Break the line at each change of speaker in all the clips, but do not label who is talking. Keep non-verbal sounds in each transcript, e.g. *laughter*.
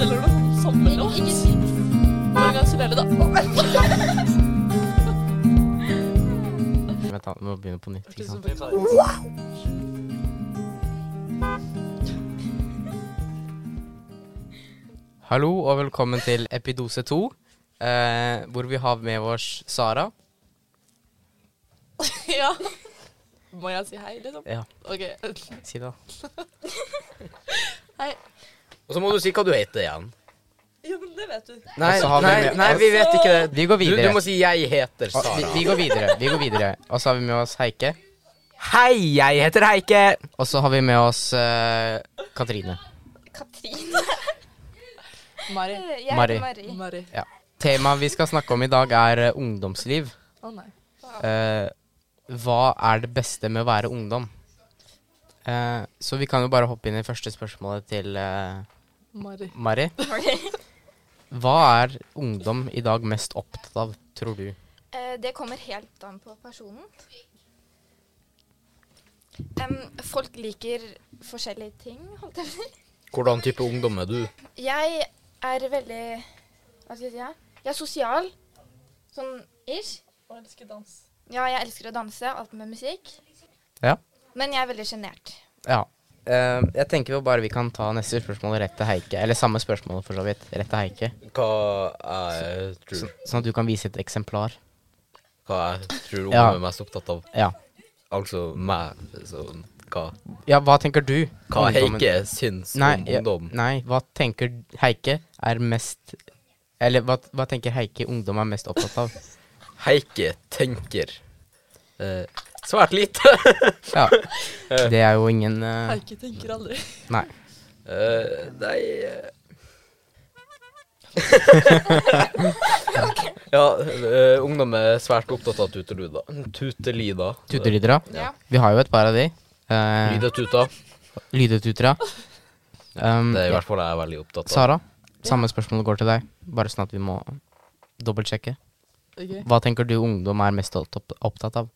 eller noe? Samme
Ingen-
låt?
Ingen
Organisere det, da.
Vent da, vi må begynne på nytt. ikke sant? Hallo og velkommen til Epidose 2, eh, hvor vi har med oss Sara.
ja. Må jeg si hei, liksom?
Ja,
OK.
si det da.
Hei.
Og så må du si hva du heter igjen.
Jo, men det vet du.
Nei,
Og så har vi
nei,
med
nei,
oss-
vi vet ikke det.
Vi går
Du, du
videre.
må si 'jeg heter
Ah, vi,
Sara'.
vi går videre. Vi går videre. Og så har vi med oss Heike.
Hei, jeg heter Heike.
Og så har vi med oss eh, Katrine.
Katrine.
Mari.
Jeg
Mari.
heter Mari.
Mari.
Ja. Temaet vi skal snakke om i dag, er eh, ungdomsliv.
Å nei.
Eh, hva er det beste med å være ungdom? Eh, så vi kan jo bare hoppe inn i første spørsmålet til eh,
Mari.
Mari. Hva er ungdom i dag mest opptatt av, tror du?
Eh, Det kommer helt an på personen. Em, folk liker forskjellige ting, holdt jeg på å si.
Hvordan type ungdom er du?
Jeg er veldig Hva skal jeg si? ja? Jeg er sosial. Sånn ish.
Å elske dans.
Ja, jeg elsker å danse. Alt med musikk.
Ja.
Men jeg er veldig sjenert.
Ja. Eh, jeg tenker jo bare vi kan ta neste spørsmål rett til Heike. Eller samme spørsmål, for så vidt. Rett til Heike.
Hva jeg tror,
Sånn at du kan vise et eksemplar.
hva jeg tror ungdom
Ja.
er mest opptatt av.
Ja.
Altså meg. Sånn, hva
Ja, hva tenker du?
hva
ungdommen-
Heike syns
nei,
om
ja,
ungdom.
Nei, hva tenker Heike er mest Eller hva, hva tenker Heike ungdom er mest opptatt av?
Heike tenker eh, svært lite. *laughs*
Ja. Det er jo ingen eh,
Heike tenker aldri.
Nei.
Eh, nei
*laughs*
eh. Ja, eh, ungdom er svært opptatt av tutelyder. Tutelyder.
Tutelydra.
Ja.
Vi har jo et par av de. Eh,
Lydetuta.
Lydetutra. Um,
Det er i
ja.
hvert fall jeg er veldig opptatt av.
Sara, samme spørsmål går til deg. Bare sånn at vi må dobbeltsjekke.
OK.
Hva tenker du ungdom er mest opp- opptatt av?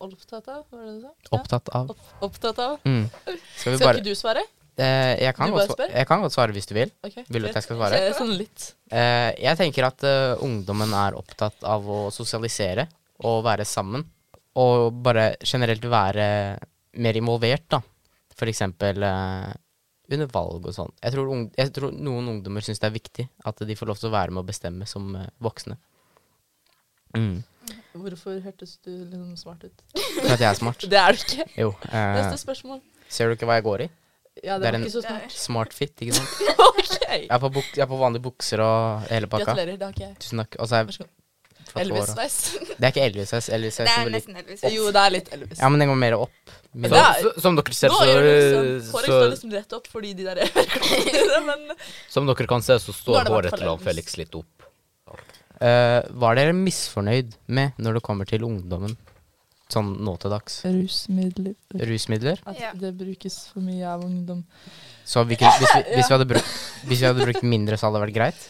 Opptatt av, var det det du sa? Ja.
Opptatt av?
Opp, opptatt av.
Mm. Skal vi
Skal
bare
ikke du svare?
eh, jeg, kan
du
godt
bare
svare,
spør?
jeg kan godt svare hvis du vil.
Ok,
Vil du
greit.
at jeg skal svare?
Eh, Sånn litt.
Eh, jeg tenker at eh, ungdommen er opptatt av å sosialisere og være sammen. Og bare generelt være mer involvert, da. For eksempel eh, under valg og sånn. Jeg, tror ung- jeg tror noen ungdommer syns det er viktig at de får lov til å være med og bestemme som eh, voksne. Mm.
Hvorfor hørtes du liksom smart ut?
For at jeg er smart.
Det er du ikke.
Jo. eh,
Neste spørsmål.
ser du ikke hva jeg går i?
Ja, det
det er
var
en-
ikke så smart.
Smart fit, ikke sant?
*laughs* OK.
Jeg er på, buk jeg er på vanlige bukser og hele pakka.
Gratulerer. Det har ikke jeg.
Tusen takk. Og så er
Vær så god.
jeg flatt
Elvis
hår, og-
Nice.
Det er ikke Elvis. jeg- Elvis jeg er
Det er
så veldig-
nesten Elvis.
Jo, det er litt Elvis.
Ja, men den går mer opp.
Men det
Så,
Mindre.
er-
så, som dere ser,
Nå gjør det liksom,
så,
Håret står
så
liksom rett opp fordi de der
*laughs*
ørene Men
Som dere kan se, så
Nå er
står
det i hvert
håret
fall
til han
Elvis.
Felix litt opp.
Eh, hva er dere misfornøyd med når det kommer til ungdommen? Sånn nå til dags.
Rusmidler.
Rusmidler.
At
Ja.
det brukes for mye av ungdom.
Så vi kunne, hvis, vi, hvis, vi hadde brukt, hvis vi hadde brukt mindre, så hadde det vært greit?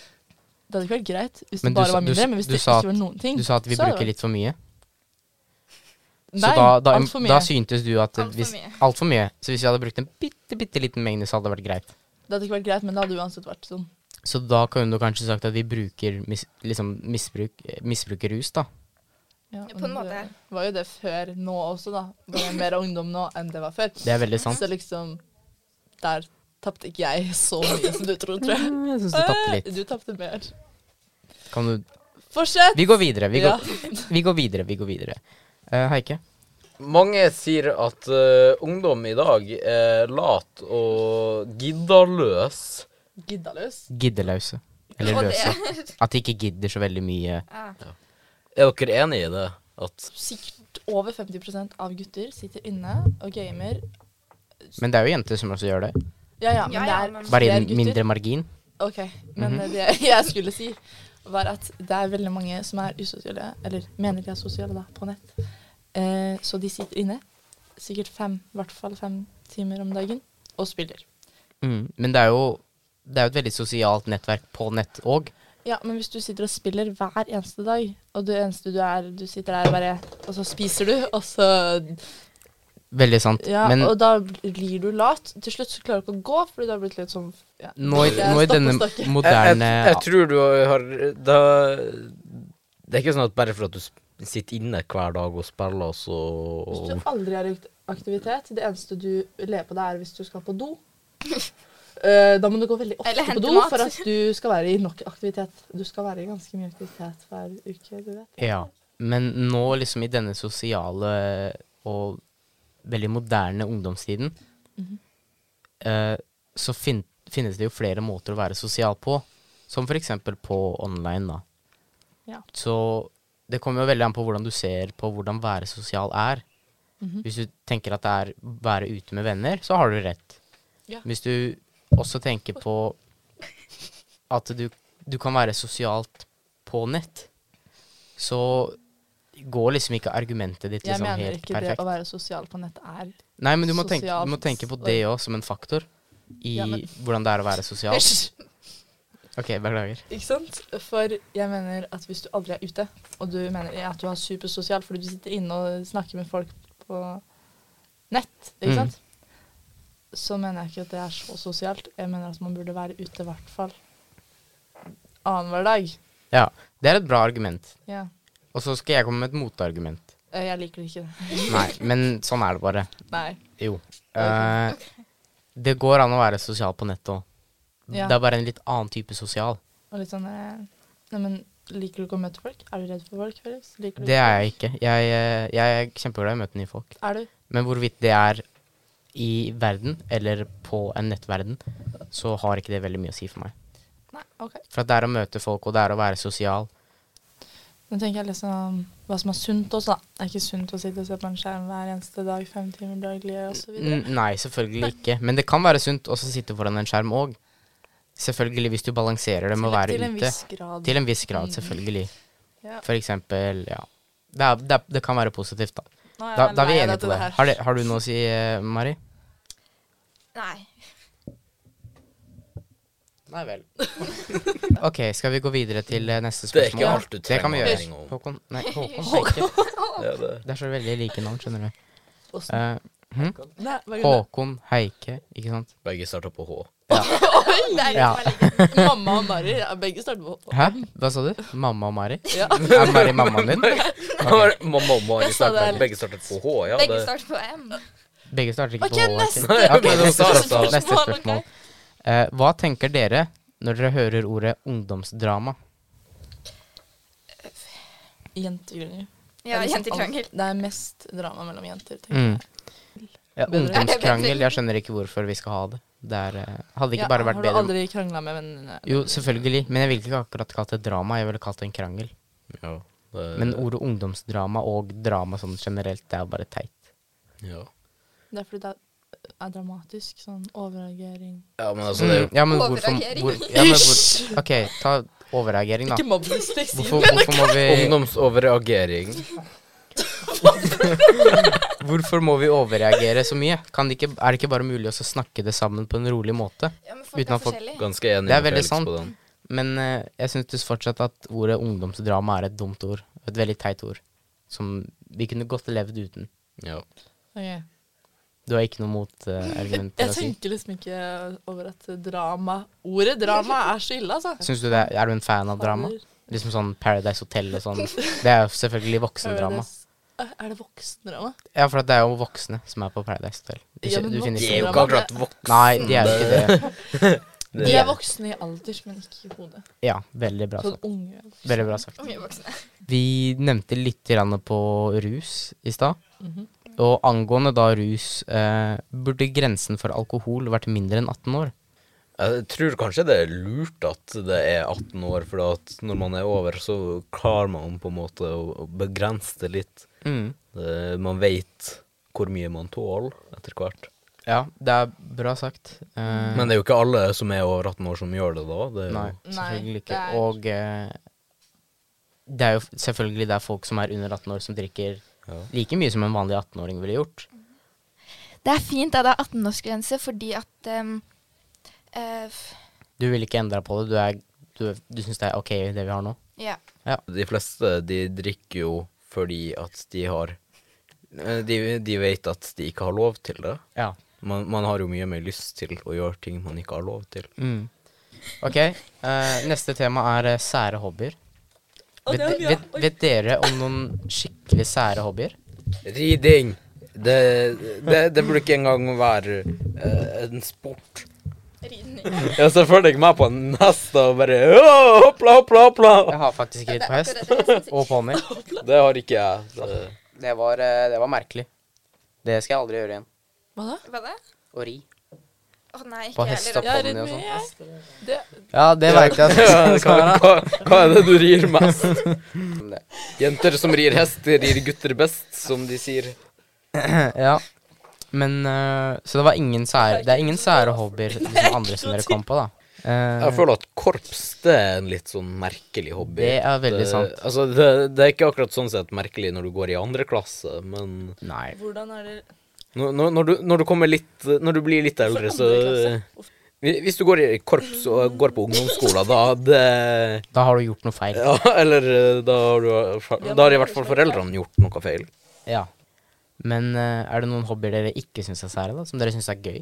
Det hadde ikke vært greit hvis
Men
det
du
bare
sa-
var
du s-
mindre, men hvis
du
det
sa
ikke
at-
var noen ting
Du sa at vi
så hadde
bruker
det
litt for mye.
vært-
Så
Nei,
da, da,
alt for mye.
da syntes du at
Alt for
hvis
mye.
Altfor mye. Så hvis vi hadde brukt en bitte, bitte liten mengde, så hadde det vært greit.
det hadde ikke vært greit, men det hadde uansett vært sånn.
Så da kunne du kanskje sagt at vi bruker mis, liksom misbruk, misbruker rus, da.
Ja,
På en
men
måte.
Det var jo det før nå også, da. Det er mer ungdom nå enn det var før.
Det er veldig sant.
Så liksom Der tapte ikke jeg så mye som du tror, tror jeg.
Mm, Jeg syns du tapte litt.
Du tapte mer.
Kan du
Fortsett!
Vi går videre. Vi
Ja.
går, vi går videre. Vi går videre. Eh, Heike?
Mange sier at eh, ungdom i dag er lat og giddaløs.
Gidda løs.
Giddeløse. Eller
Og det-
løse. At de ikke gidder så veldig mye.
Ja.
Er dere enig i det? At
Sikkert over 50 av gutter sitter inne og gamer.
Men det er jo jenter som også gjør det.
Ja ja, men
Ja,
det
ja,
er
men-
Bare i
flere
en
gutter.
mindre Mhm. margin.
Ok, men det *laughs* jeg skulle si, var at det er veldig mange som er usosiale, eller mener de er sosiale, da, på nett. Eh, så de sitter inne, sikkert fem, i hvert fall fem timer om dagen, og spiller.
Mm. Men det er jo det er jo et veldig sosialt nettverk på nett òg.
Ja, men hvis du sitter og spiller hver eneste dag, og det eneste du er, du sitter der bare, og så spiser du, og så
Veldig sant.
Ja,
Men
og da blir du lat. Til slutt så klarer du ikke å gå, fordi du har blitt litt sånn ja.
nå i,
Jeg er
nå i denne
stoppestokke.
Jeg,
moderne
jeg, jeg tror du har da, Det er ikke sånn at bare for at du sp- sitter inne hver dag og spiller,
Hvis
så
du aldri har gjort aktivitet, det eneste du ler på deg, er hvis du skal på *laughs* do. Eh, Da må du gå veldig
Eller
ofte
hente
på do
mat.
for at du skal være i nok aktivitet. Du skal være i ganske mye aktivitet hver uke, du vet.
Ja. Men nå liksom i denne sosiale og veldig moderne ungdomstiden, eh, så fin finnes det jo flere måter å være sosial på. Som for eksempel på online, da.
Ja.
Så det kommer jo veldig an på hvordan du ser på hvordan være sosial er.
Mm.
Hvis du tenker at det er være ute med venner, så har du rett.
Ja.
Hvis du også tenker på at du, du kan være sosialt på nett, så går liksom ikke argumentet ditt
Jeg
liksom
mener
helt
ikke
perfekt.
det å være sosial på nett er
Nei, men du må, tenke, du må
sosialt
tenke på det òg som en faktor i
Ja, men-
hvordan det er å være sosial.
*laughs* Hysj!
Ok, beklager.
Ikke sant? For jeg mener at hvis du aldri er ute, og du mener at du er supersosial fordi du sitter inne og snakker med folk på nett, ikke
Mm.
sant? Så mener jeg ikke at det er så sosialt. Jeg mener at man burde være ute i hvert fall annenhver dag.
Ja, det er et bra argument.
Ja.
Og så skal jeg komme med et motargument.
Eh, Jeg liker det *laughs* ikke.
Nei, men sånn er det bare.
Nei.
Jo. Eh, det går an å være sosial på nettet òg.
Ja.
Det er bare en litt annen type sosial.
Og litt sånn eh, Nei, men liker du ikke å møte folk? Er du redd for folk, Felix? Liker du
Det er jeg ikke. Jeg, eh, jeg er kjempeglad i å møte nye folk.
Er du?
Men hvorvidt det er i verden eller på en nettverden, så har ikke det veldig mye å si for meg.
Nei, OK.
For at det er å møte folk, og det er å være sosial.
Nå tenker jeg liksom hva som er sunt også, da. Det er ikke sunt å sitte og se på en skjerm hver eneste dag, fem timer daglig og så videre.
N nei, selvfølgelig ikke. Men det kan være sunt også å sitte foran en skjerm òg. Selvfølgelig hvis du balanserer det med å være
til en
ute.
viss Mm. grad.
Til en viss grad, selvfølgelig.
Ja.
For eksempel, ja. Det, er, det, er, det kan være positivt, da.
Nå
Da,
jeg
da er vi
lei av
enige
dette
på det.
her.
Har, det, har du noe å si, eh, Mari?
Nei.
Nei vel. *laughs* ok, skal vi gå videre til eh, neste
Det er
spørsmål?
ikke alt du
Det kan vi
trenger å
gjøre.
mening om.
Håkon
*laughs*
Nei, Håkon Feikke.
ja, det.
Det er så veldig like navn, skjønner du.
Åssen?
Eh,
Nei, hva er det?
Håkon Heike, ikke sant?
Begge starter på H.
Nei,
Ja.
Mamma og Mari, ja, begge starter på H.
Hæ? Hva sa du? Mamma og Mari?
Ja.
*laughs* Er Mari mammaen din?
*laughs* Mamma og Mari
Jeg sa det
starter
heller.
Begge startet på H, ja.
Begge
det-
starter på M.
Begge starter ikke
Ok,
på H.
neste.
*laughs*
ikke? Ok,
Men
neste
Sara sa
spørsmål.
det.
Neste spørsmål. Eh, hva tenker dere når dere hører ordet ungdomsdrama?
Jentekrangel.
Ja,
Det er liksom
jentekrangel.
alt- Det er mest drama mellom jenter. tenker jeg.
Mm. Ja,
Bedre. *laughs*
ungdomskrangel, jeg skjønner ikke hvorfor vi skal ha det. det er, eh, hadde ikke bare
Ja,
vært
Har du
bedre
aldri krangla med vennene?
Jo, selvfølgelig, men jeg ville ikke akkurat kalt det drama, jeg ville kalt det en krangel.
Ja, det-
Men ordet ungdomsdrama og drama sånn generelt, det er bare teit.
ja.
Det er fordi det er dramatisk. Sånn overreagering.
ja, men altså, det er
Mm,
jo
ja, men hvorfor
Overreagering.
hvor, ja, men hvor, OK, ta overreagering, da.
Ikke liksom. mobb dysleksi.
Hvorfor, hvorfor må
*laughs*
vi
ungdomsoverreagering.
Hvorfor må vi overreagere så mye? Kan det ikke, er det ikke bare mulig å så snakke det sammen på en rolig måte?
Ja, men folk
Uten å
er
få-
forskjellige.
Ganske enig
Det er
med
veldig
Felix
sant.
på den.
Men eh, jeg syns fortsatt at ordet ungdomsdrama er et dumt ord. Et veldig teit ord. Som vi kunne godt levd uten.
Ja.
Ok.
Du har ikke noe mot
*laughs*
eh, argumenter
Jeg
å si?
tenker liksom ikke over at drama Ordet drama er så ille, altså.
Syns du det er, er du en fan av drama? Liksom sånn Paradise Hotel
*laughs*
og sånn. Det er jo selvfølgelig voksendrama.
Paradise- Er det voksendrama?
Ja, for at det er jo voksne som er på Paradise Hotel. Du,
Ja,
kje-
men
du finner
De
voksen-
er jo
ikke
ikke akkurat
Nei, de er jo ikke det.
Det-
De er voksne i alder, men ikke i hodet.
Ja, veldig bra
Sånn
sagt.
unge.
Veldig bra sagt.
Unge voksne.
Vi nevnte litt grann på rus i stad.
Mhm.
Og angående da rus, eh, burde grensen for alkohol vært mindre enn 18 år?
Jeg tror kanskje det er lurt at det er 18 år, for at når man er over, så klarer man på en måte å å begrense det litt. Det- Man veit hvor mye man tåler etter hvert.
Ja, det er bra sagt. Eh,
Men det er jo ikke alle som er over 18 år som gjør det da. Det er jo,
Nei,
Nei, det
selvfølgelig ikke.
er-
Og eh, det er jo f- selvfølgelig det er folk som er under 18 år som drikker
Ja.
like mye som en vanlig 18-åring ville gjort.
Det er fint at det er 18-årsgrense fordi at ehm, eh, f-
Du ville ikke endra på det. Du, er- du, du syns det er OK det vi har nå?
Ja.
De fleste de drikker jo fordi at de har Eh, De, de vet at de ikke har lov til det.
Ja.
Man, man har jo mye mer lyst til å gjøre ting man ikke har lov til.
Mm. Ok, eh, neste tema er eh, sære hobbyer. Vet, vet, vet dere om noen skikkelig sære hobbyer?
Riding! Det, det, det burde ikke engang være eh, en sport.
*laughs*
Ridning.
Ja, så følger jeg med på neste og bare «Åh, hoppla, hoppla, hoppla!
Jeg har faktisk ridd på hest og ponni.
Det har ikke jeg. Det,
Det, var, eh, det var merkelig. Det skal jeg aldri gjøre igjen.
Hva da?
Hva da?
Å ri
Å nei, ikke
på
jeg
hest
heller.
og
Jeg er
ponni
redd
og sånn.
med
sånt.
jeg. Det,
Ja, det veit jeg.
Ja,
at-
*laughs* hva, hva, hva er det du rir mest?
Det.
Jenter som rir hest, rir gutter best, som de sier.
*laughs* Ja. Men eh, Så det var ingen sære Det er ingen sære hobbyer, liksom andre som dere kom på, da. Eh,
Jeg føler at korps det er en litt sånn merkelig hobby.
Det er veldig
Det-
sant.
Altså, det, det er ikke akkurat sånn sett merkelig når du går i andre klasse, men
Nei.
hvordan er det
når, når, når, du, når du kommer litt Når du blir litt eldre,
andre
så
klasse?
Hvi- Hvis du går i korps og går på ungdomsskolen, da det
Da har du gjort noe feil.
Ja, eller eh, da har, du, da har i hvert fall foreldrene gjort noe feil.
Ja. Men eh, er det noen hobbyer dere ikke syns er sære, da? Som dere syns er gøy?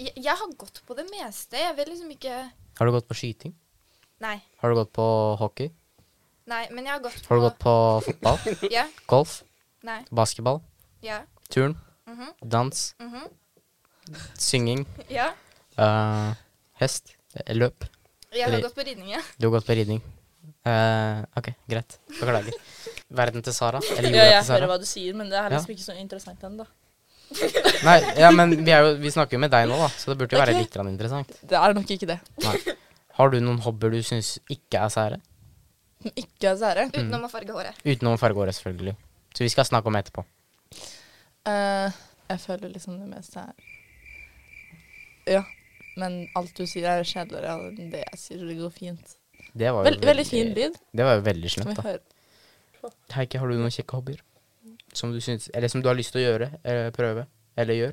Jeg, jeg har gått på det meste. Jeg vil liksom ikke
Har du gått på skyting?
Nei.
Har du gått på hockey?
Nei, men jeg har gått på
Har du gått på fotball? *laughs*
Ja.
Golf?
Nei.
Basketball?
Ja.
Turn?
Mhm.
Dans?
mhm,
Synging?
Ja.
eh, hest? eh, Løp?
Jeg har
Eller- Mm.
gått på ridning, ja.
Du har gått på ridning. Eh, ok, greit. Beklager. Verden til Sara? Eller
Ja,
jorda
jeg
til
hører
Sara?
hva du sier, men det er
Ja.
liksom ikke så interessant ennå.
Nei, ja, men vi, er jo, vi snakker jo med deg nå, da, så det burde jo være
Ok.
litt grann interessant.
Det er nok ikke det.
Nei. Har du noen hobbyer du syns ikke er sære?
Som ikke er sære.
Utenom å farge håret.
Utenom fargeåret, selvfølgelig. Så vi skal snakke om det etterpå.
Eh, jeg føler liksom det meste er Ja. Men alt du sier, er kjedeligere enn det jeg sier. Det går fint.
Det var jo
Vel, veldig fin lyd.
Det var jo veldig
Kan
slemt,
vi
da.
høre?
Heikki, har du noen kjekke hobbyer? Som du syns Eller som du har lyst til å gjøre? Eller prøve? Eller gjør?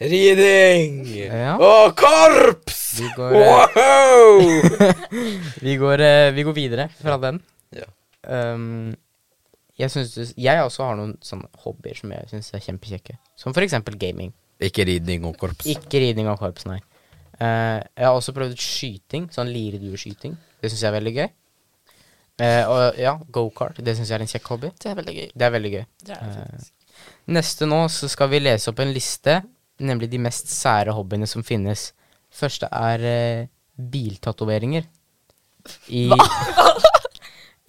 Riding!
Ja.
Og korps!
Vi går, eh,
Wow!
vi går, eh, vi går videre fra den.
Ja.
Um, jeg syns du Jeg også har noen sånne hobbyer som jeg syns er kjempekjekke. Som for eksempel gaming.
*laughs* Ikke ridning og korps.
Ikke ridning av korps, nei. Eh, jeg har også prøvd skyting. Sånn liredueskyting. Det syns jeg er veldig gøy. Eh, og ja, gokart. Det syns jeg er en kjekk hobby.
Det er veldig gøy.
Det er veldig gøy.
Det er det faktisk.
Neste nå så skal vi lese opp en liste, nemlig de mest sære hobbyene som finnes. Første er eh, biltatoveringer. I, *laughs*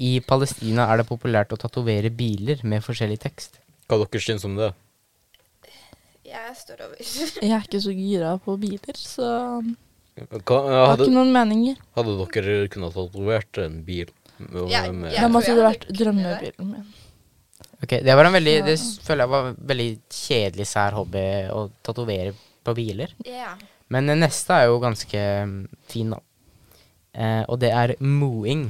I Palestina er det populært å tatovere biler med forskjellig tekst.
Hva dere syns om det?
Jeg står over. *laughs*
Jeg er ikke så gira på biler, så
Hva,
jeg har
hadde,
ikke noen meninger.
hadde dere kunnet tatovert en bil? Med,
Ja,
med,
ja.
Da måtte det
tror jeg
vært
hadde kunnet
drømmebilen min.
Ok, Det var en veldig, det s-
Ja.
føler jeg var en veldig kjedelig sær hobby å tatovere på biler.
Ja.
Men den neste er jo ganske mm, fin, da. Eh, og det er mooing.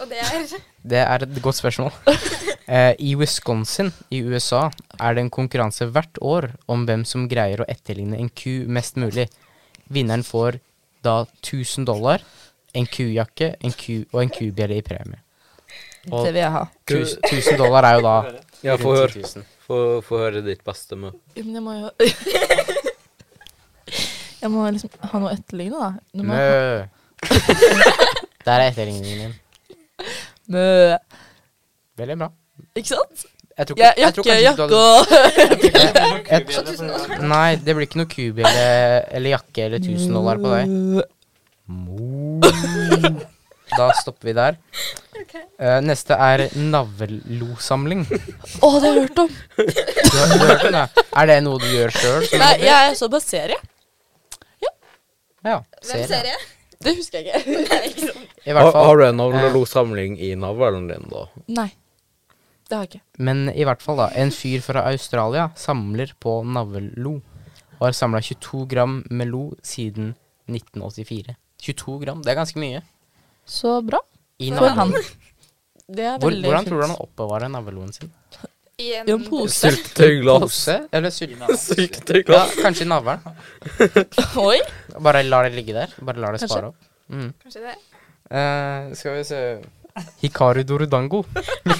Og det er
Det er et godt
*laughs*
spørsmål. Eh, I Wisconsin i USA er det en konkurranse hvert år om hvem som greier å etterligne en ku mest mulig. Vinneren får da 1000 dollar, en kujakke en ku og en kubjelle i premie. Og-
Det vil jeg ha.
Tus- 1000 dollar er jo da
ja, få
rundt
høre,
10 000.
få, få høre ditt beste med
Ja, Men jeg må jo *laughs* Jeg må liksom ha noe å etterligne, da. Du må ha-
Mø. *laughs* Der er etterligningen din.
Mø.
Veldig bra.
Ikke sant?
Jeg tror,
Ja,
ikke- jeg tror
jakke,
kanskje ikke
jakke
du
og
hadde jeg, Nei, det blir ikke noe kubjelle eller jakke eller 1000 dollar på deg. Da stopper vi der. Eh, neste er navlelosamling.
Å, det har jeg hørt om!
Du har, du har hørt om det? Er det noe du gjør sjøl?
Nei, jeg så bare serie.
Ja.
Hvem
Ser jeg.
ser jeg?
Det husker *laughs* jeg ikke.
I
Har,
hvert
har
fall. eh,
du en navlelosamling i navlen din, da?
Nei. Det har jeg ikke.
Men i hvert fall, da. En fyr fra Australia samler på navlelo. Og har samla 22 gram med lo siden 1984. 22 gram, det er ganske mye.
Så bra
I
for han.
navlen.
Det er
Hvor,
veldig
hvordan
fint.
tror du han oppbevarer navleloen sin?
I en
I en pose.
Syltetøyglass.
Pose? Eller sylte? Ja,
Syltetøyglass.
kanskje i navlen.
*laughs* Oi!
Bare lar det ligge der. Bare lar det
Kanskje.
spare opp. Mm.
Kanskje det?
Eh, skal vi se Hikaru
*laughs*
Dorudango.
Det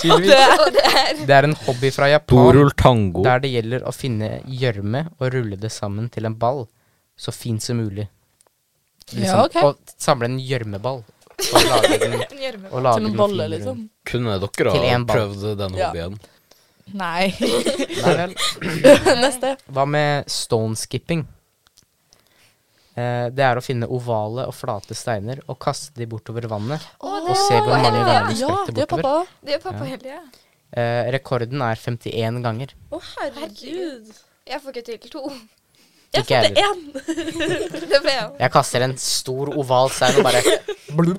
Tydeligvis.
er
Det er en hobby fra Japan
Dorul Tango.
der det gjelder å finne gjørme og rulle det sammen til en ball så fint som mulig. Liksom,
Ja, ok.
Og samle en gjørmeball og
*laughs*
lage den,
En gjørme.
og lage
til
den
en bolle,
fin
liksom.
rundt.
Kunne dere
Til
ha
en ball.
prøvd den
Ja.
hobbyen?
*laughs*
Nei.
Nei vel.
Neste.
Hva med stone skipping? Eh, det er å finne ovale og flate steiner og kaste de bortover vannet. Og se hvor mange ganger du
Ja,
spretter
det er
bortover.
pappa.
Det gjør pappa hele tida.
Eh, rekorden er 51 ganger.
Å, herregud.
Jeg får ikke til to. *laughs*
Ikke jeg heller.
Én.
Det ble jeg.
Jeg kaster en stor oval stein og bare blum.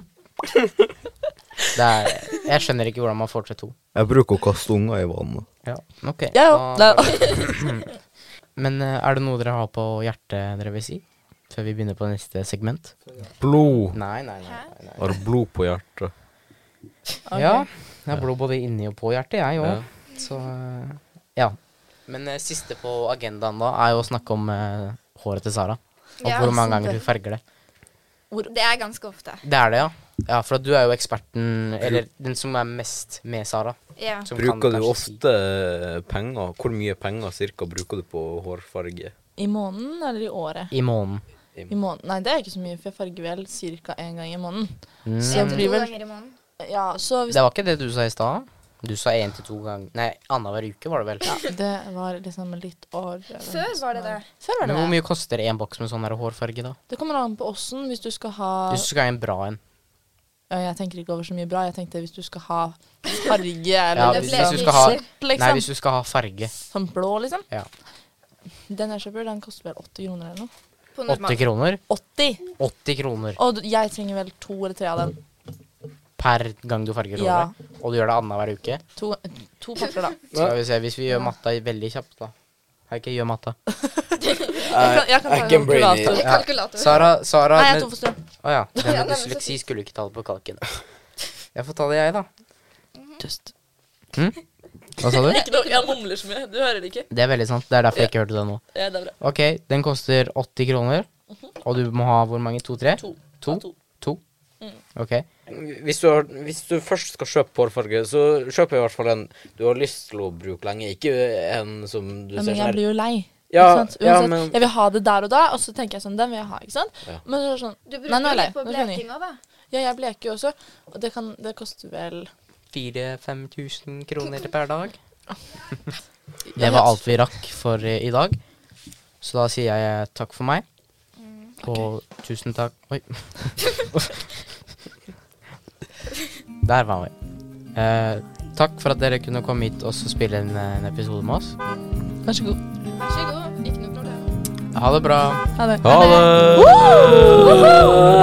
Det er, jeg skjønner ikke hvordan man får til to.
Jeg bruker å kaste unger i vannet.
Ja, Ah, ok.
Ja, ja.
Da-
Nei. *laughs*
Men eh, er det noe dere har på hjertet dere vil si? Før vi begynner på neste segment?
Blod.
Nei, nei, nei. nei,
Har blod på hjertet.
nei. Ja, jeg har blod både inni og på hjertet, jeg
Ja.
òg. Så eh, ja. Men eh, siste på agendaen da er jo å snakke om eh, håret til Sara. Og
Ja,
hvor
sant
mange ganger hun farger det.
Det er ganske ofte.
Det er det, ja. Ja, For at du er jo eksperten, eller den som er mest med Sara.
Ja.
som kan
Bruker du
kanskje si-
ofte penger? Hvor mye penger cirka bruker du på hårfarge?
I måneden eller i året?
I måneden.
I måneden. Nei, det er ikke så mye, for jeg farger vel ca. én gang i måneden.
Mm.
Så det
En til
blir
to
vel
ganger i måneden.
Ja, så hvis
Det var ikke det du sa i stad? Du sa én til to ganger Nei, annenhver uke var det vel?
ja, Det var liksom litt år eller
Før
noe
var det
sånt der.
det.
Før var
Men
det
hvor
det.
mye koster en boks med sånn her hårfarge, da?
Det kommer an på åssen. Hvis du skal ha
Du skal ha en bra en.
ja, Jeg tenker ikke over så mye bra. Jeg tenkte hvis du skal ha farge
Ja,
eller
hvis-
liksom,
hvis du skal ha-
sort, liksom.
Nei, hvis du skal ha farge.
Sånn blå, liksom.
Ja.
Den jeg kjøper, den koster vel 80 kroner eller noe.
På
80
normal.
kroner?
80!
80 kroner
Og du- jeg trenger vel to eller tre av den.
per gang du farger
Ja.
håret. Og du gjør det annenhver uke.
To, to pakker, da.
Skal vi se, hvis vi gjør matta veldig kjapt, da. Hei, ikke gjør matta.
Jeg kan, jeg kan ta en kalkulator.
Ja.
Kalkulator.
Sara, Sara
Nei, jeg er
med-
tom for strøm.
Å ja. Det
Ja,
med
nei, men så
dysleksi
fint.
skulle ikke ta det på kalken. Jeg får ta det, jeg, da.
Tøst.
Hva sa du?
Ikke noe, jeg mumler så mye. Du hører det ikke?
Det er veldig sant. Det er derfor jeg ikke hørte det nå.
Ja, det er bra.
Ok, den koster 80 kroner. Og du må ha hvor mange? To-tre?
Mhm. To.
To?
Ja, to.
To?
Mm.
Ok.
Hvis du, har, hvis du først skal kjøpe hårfarge, så kjøp i hvert fall en du har lyst til å bruke lenge, ikke en som du
Ja,
ser
men
sånn
jeg
her.
blir jo lei.
Ja,
ikke sant?
ja,
Uansett,
men-
Jeg vil ha det der og da, og så tenker jeg sånn, den vil jeg ha, ikke sant?
Ja.
Men så er det sånn,
Du
Nei,
bruker
nå er jeg lei.
litt på
Nå skjønner jeg.
blekinga, da.
ja, jeg bleker jo også, og det, kan, det koster vel
4000-5000 tusen kroner per
*laughs*
dag. Det var alt vi rakk for eh, i dag. Så da sier jeg takk for meg.
Mm.
Og tusen takk
*laughs*
Oi. Der var vi. Eh, takk for at dere kunne komme hit og så spille en, eh, en episode med oss.
Vær så god.
Vær så god. Ikke noe problem.
Ha det bra.
Ha det.
Ha det!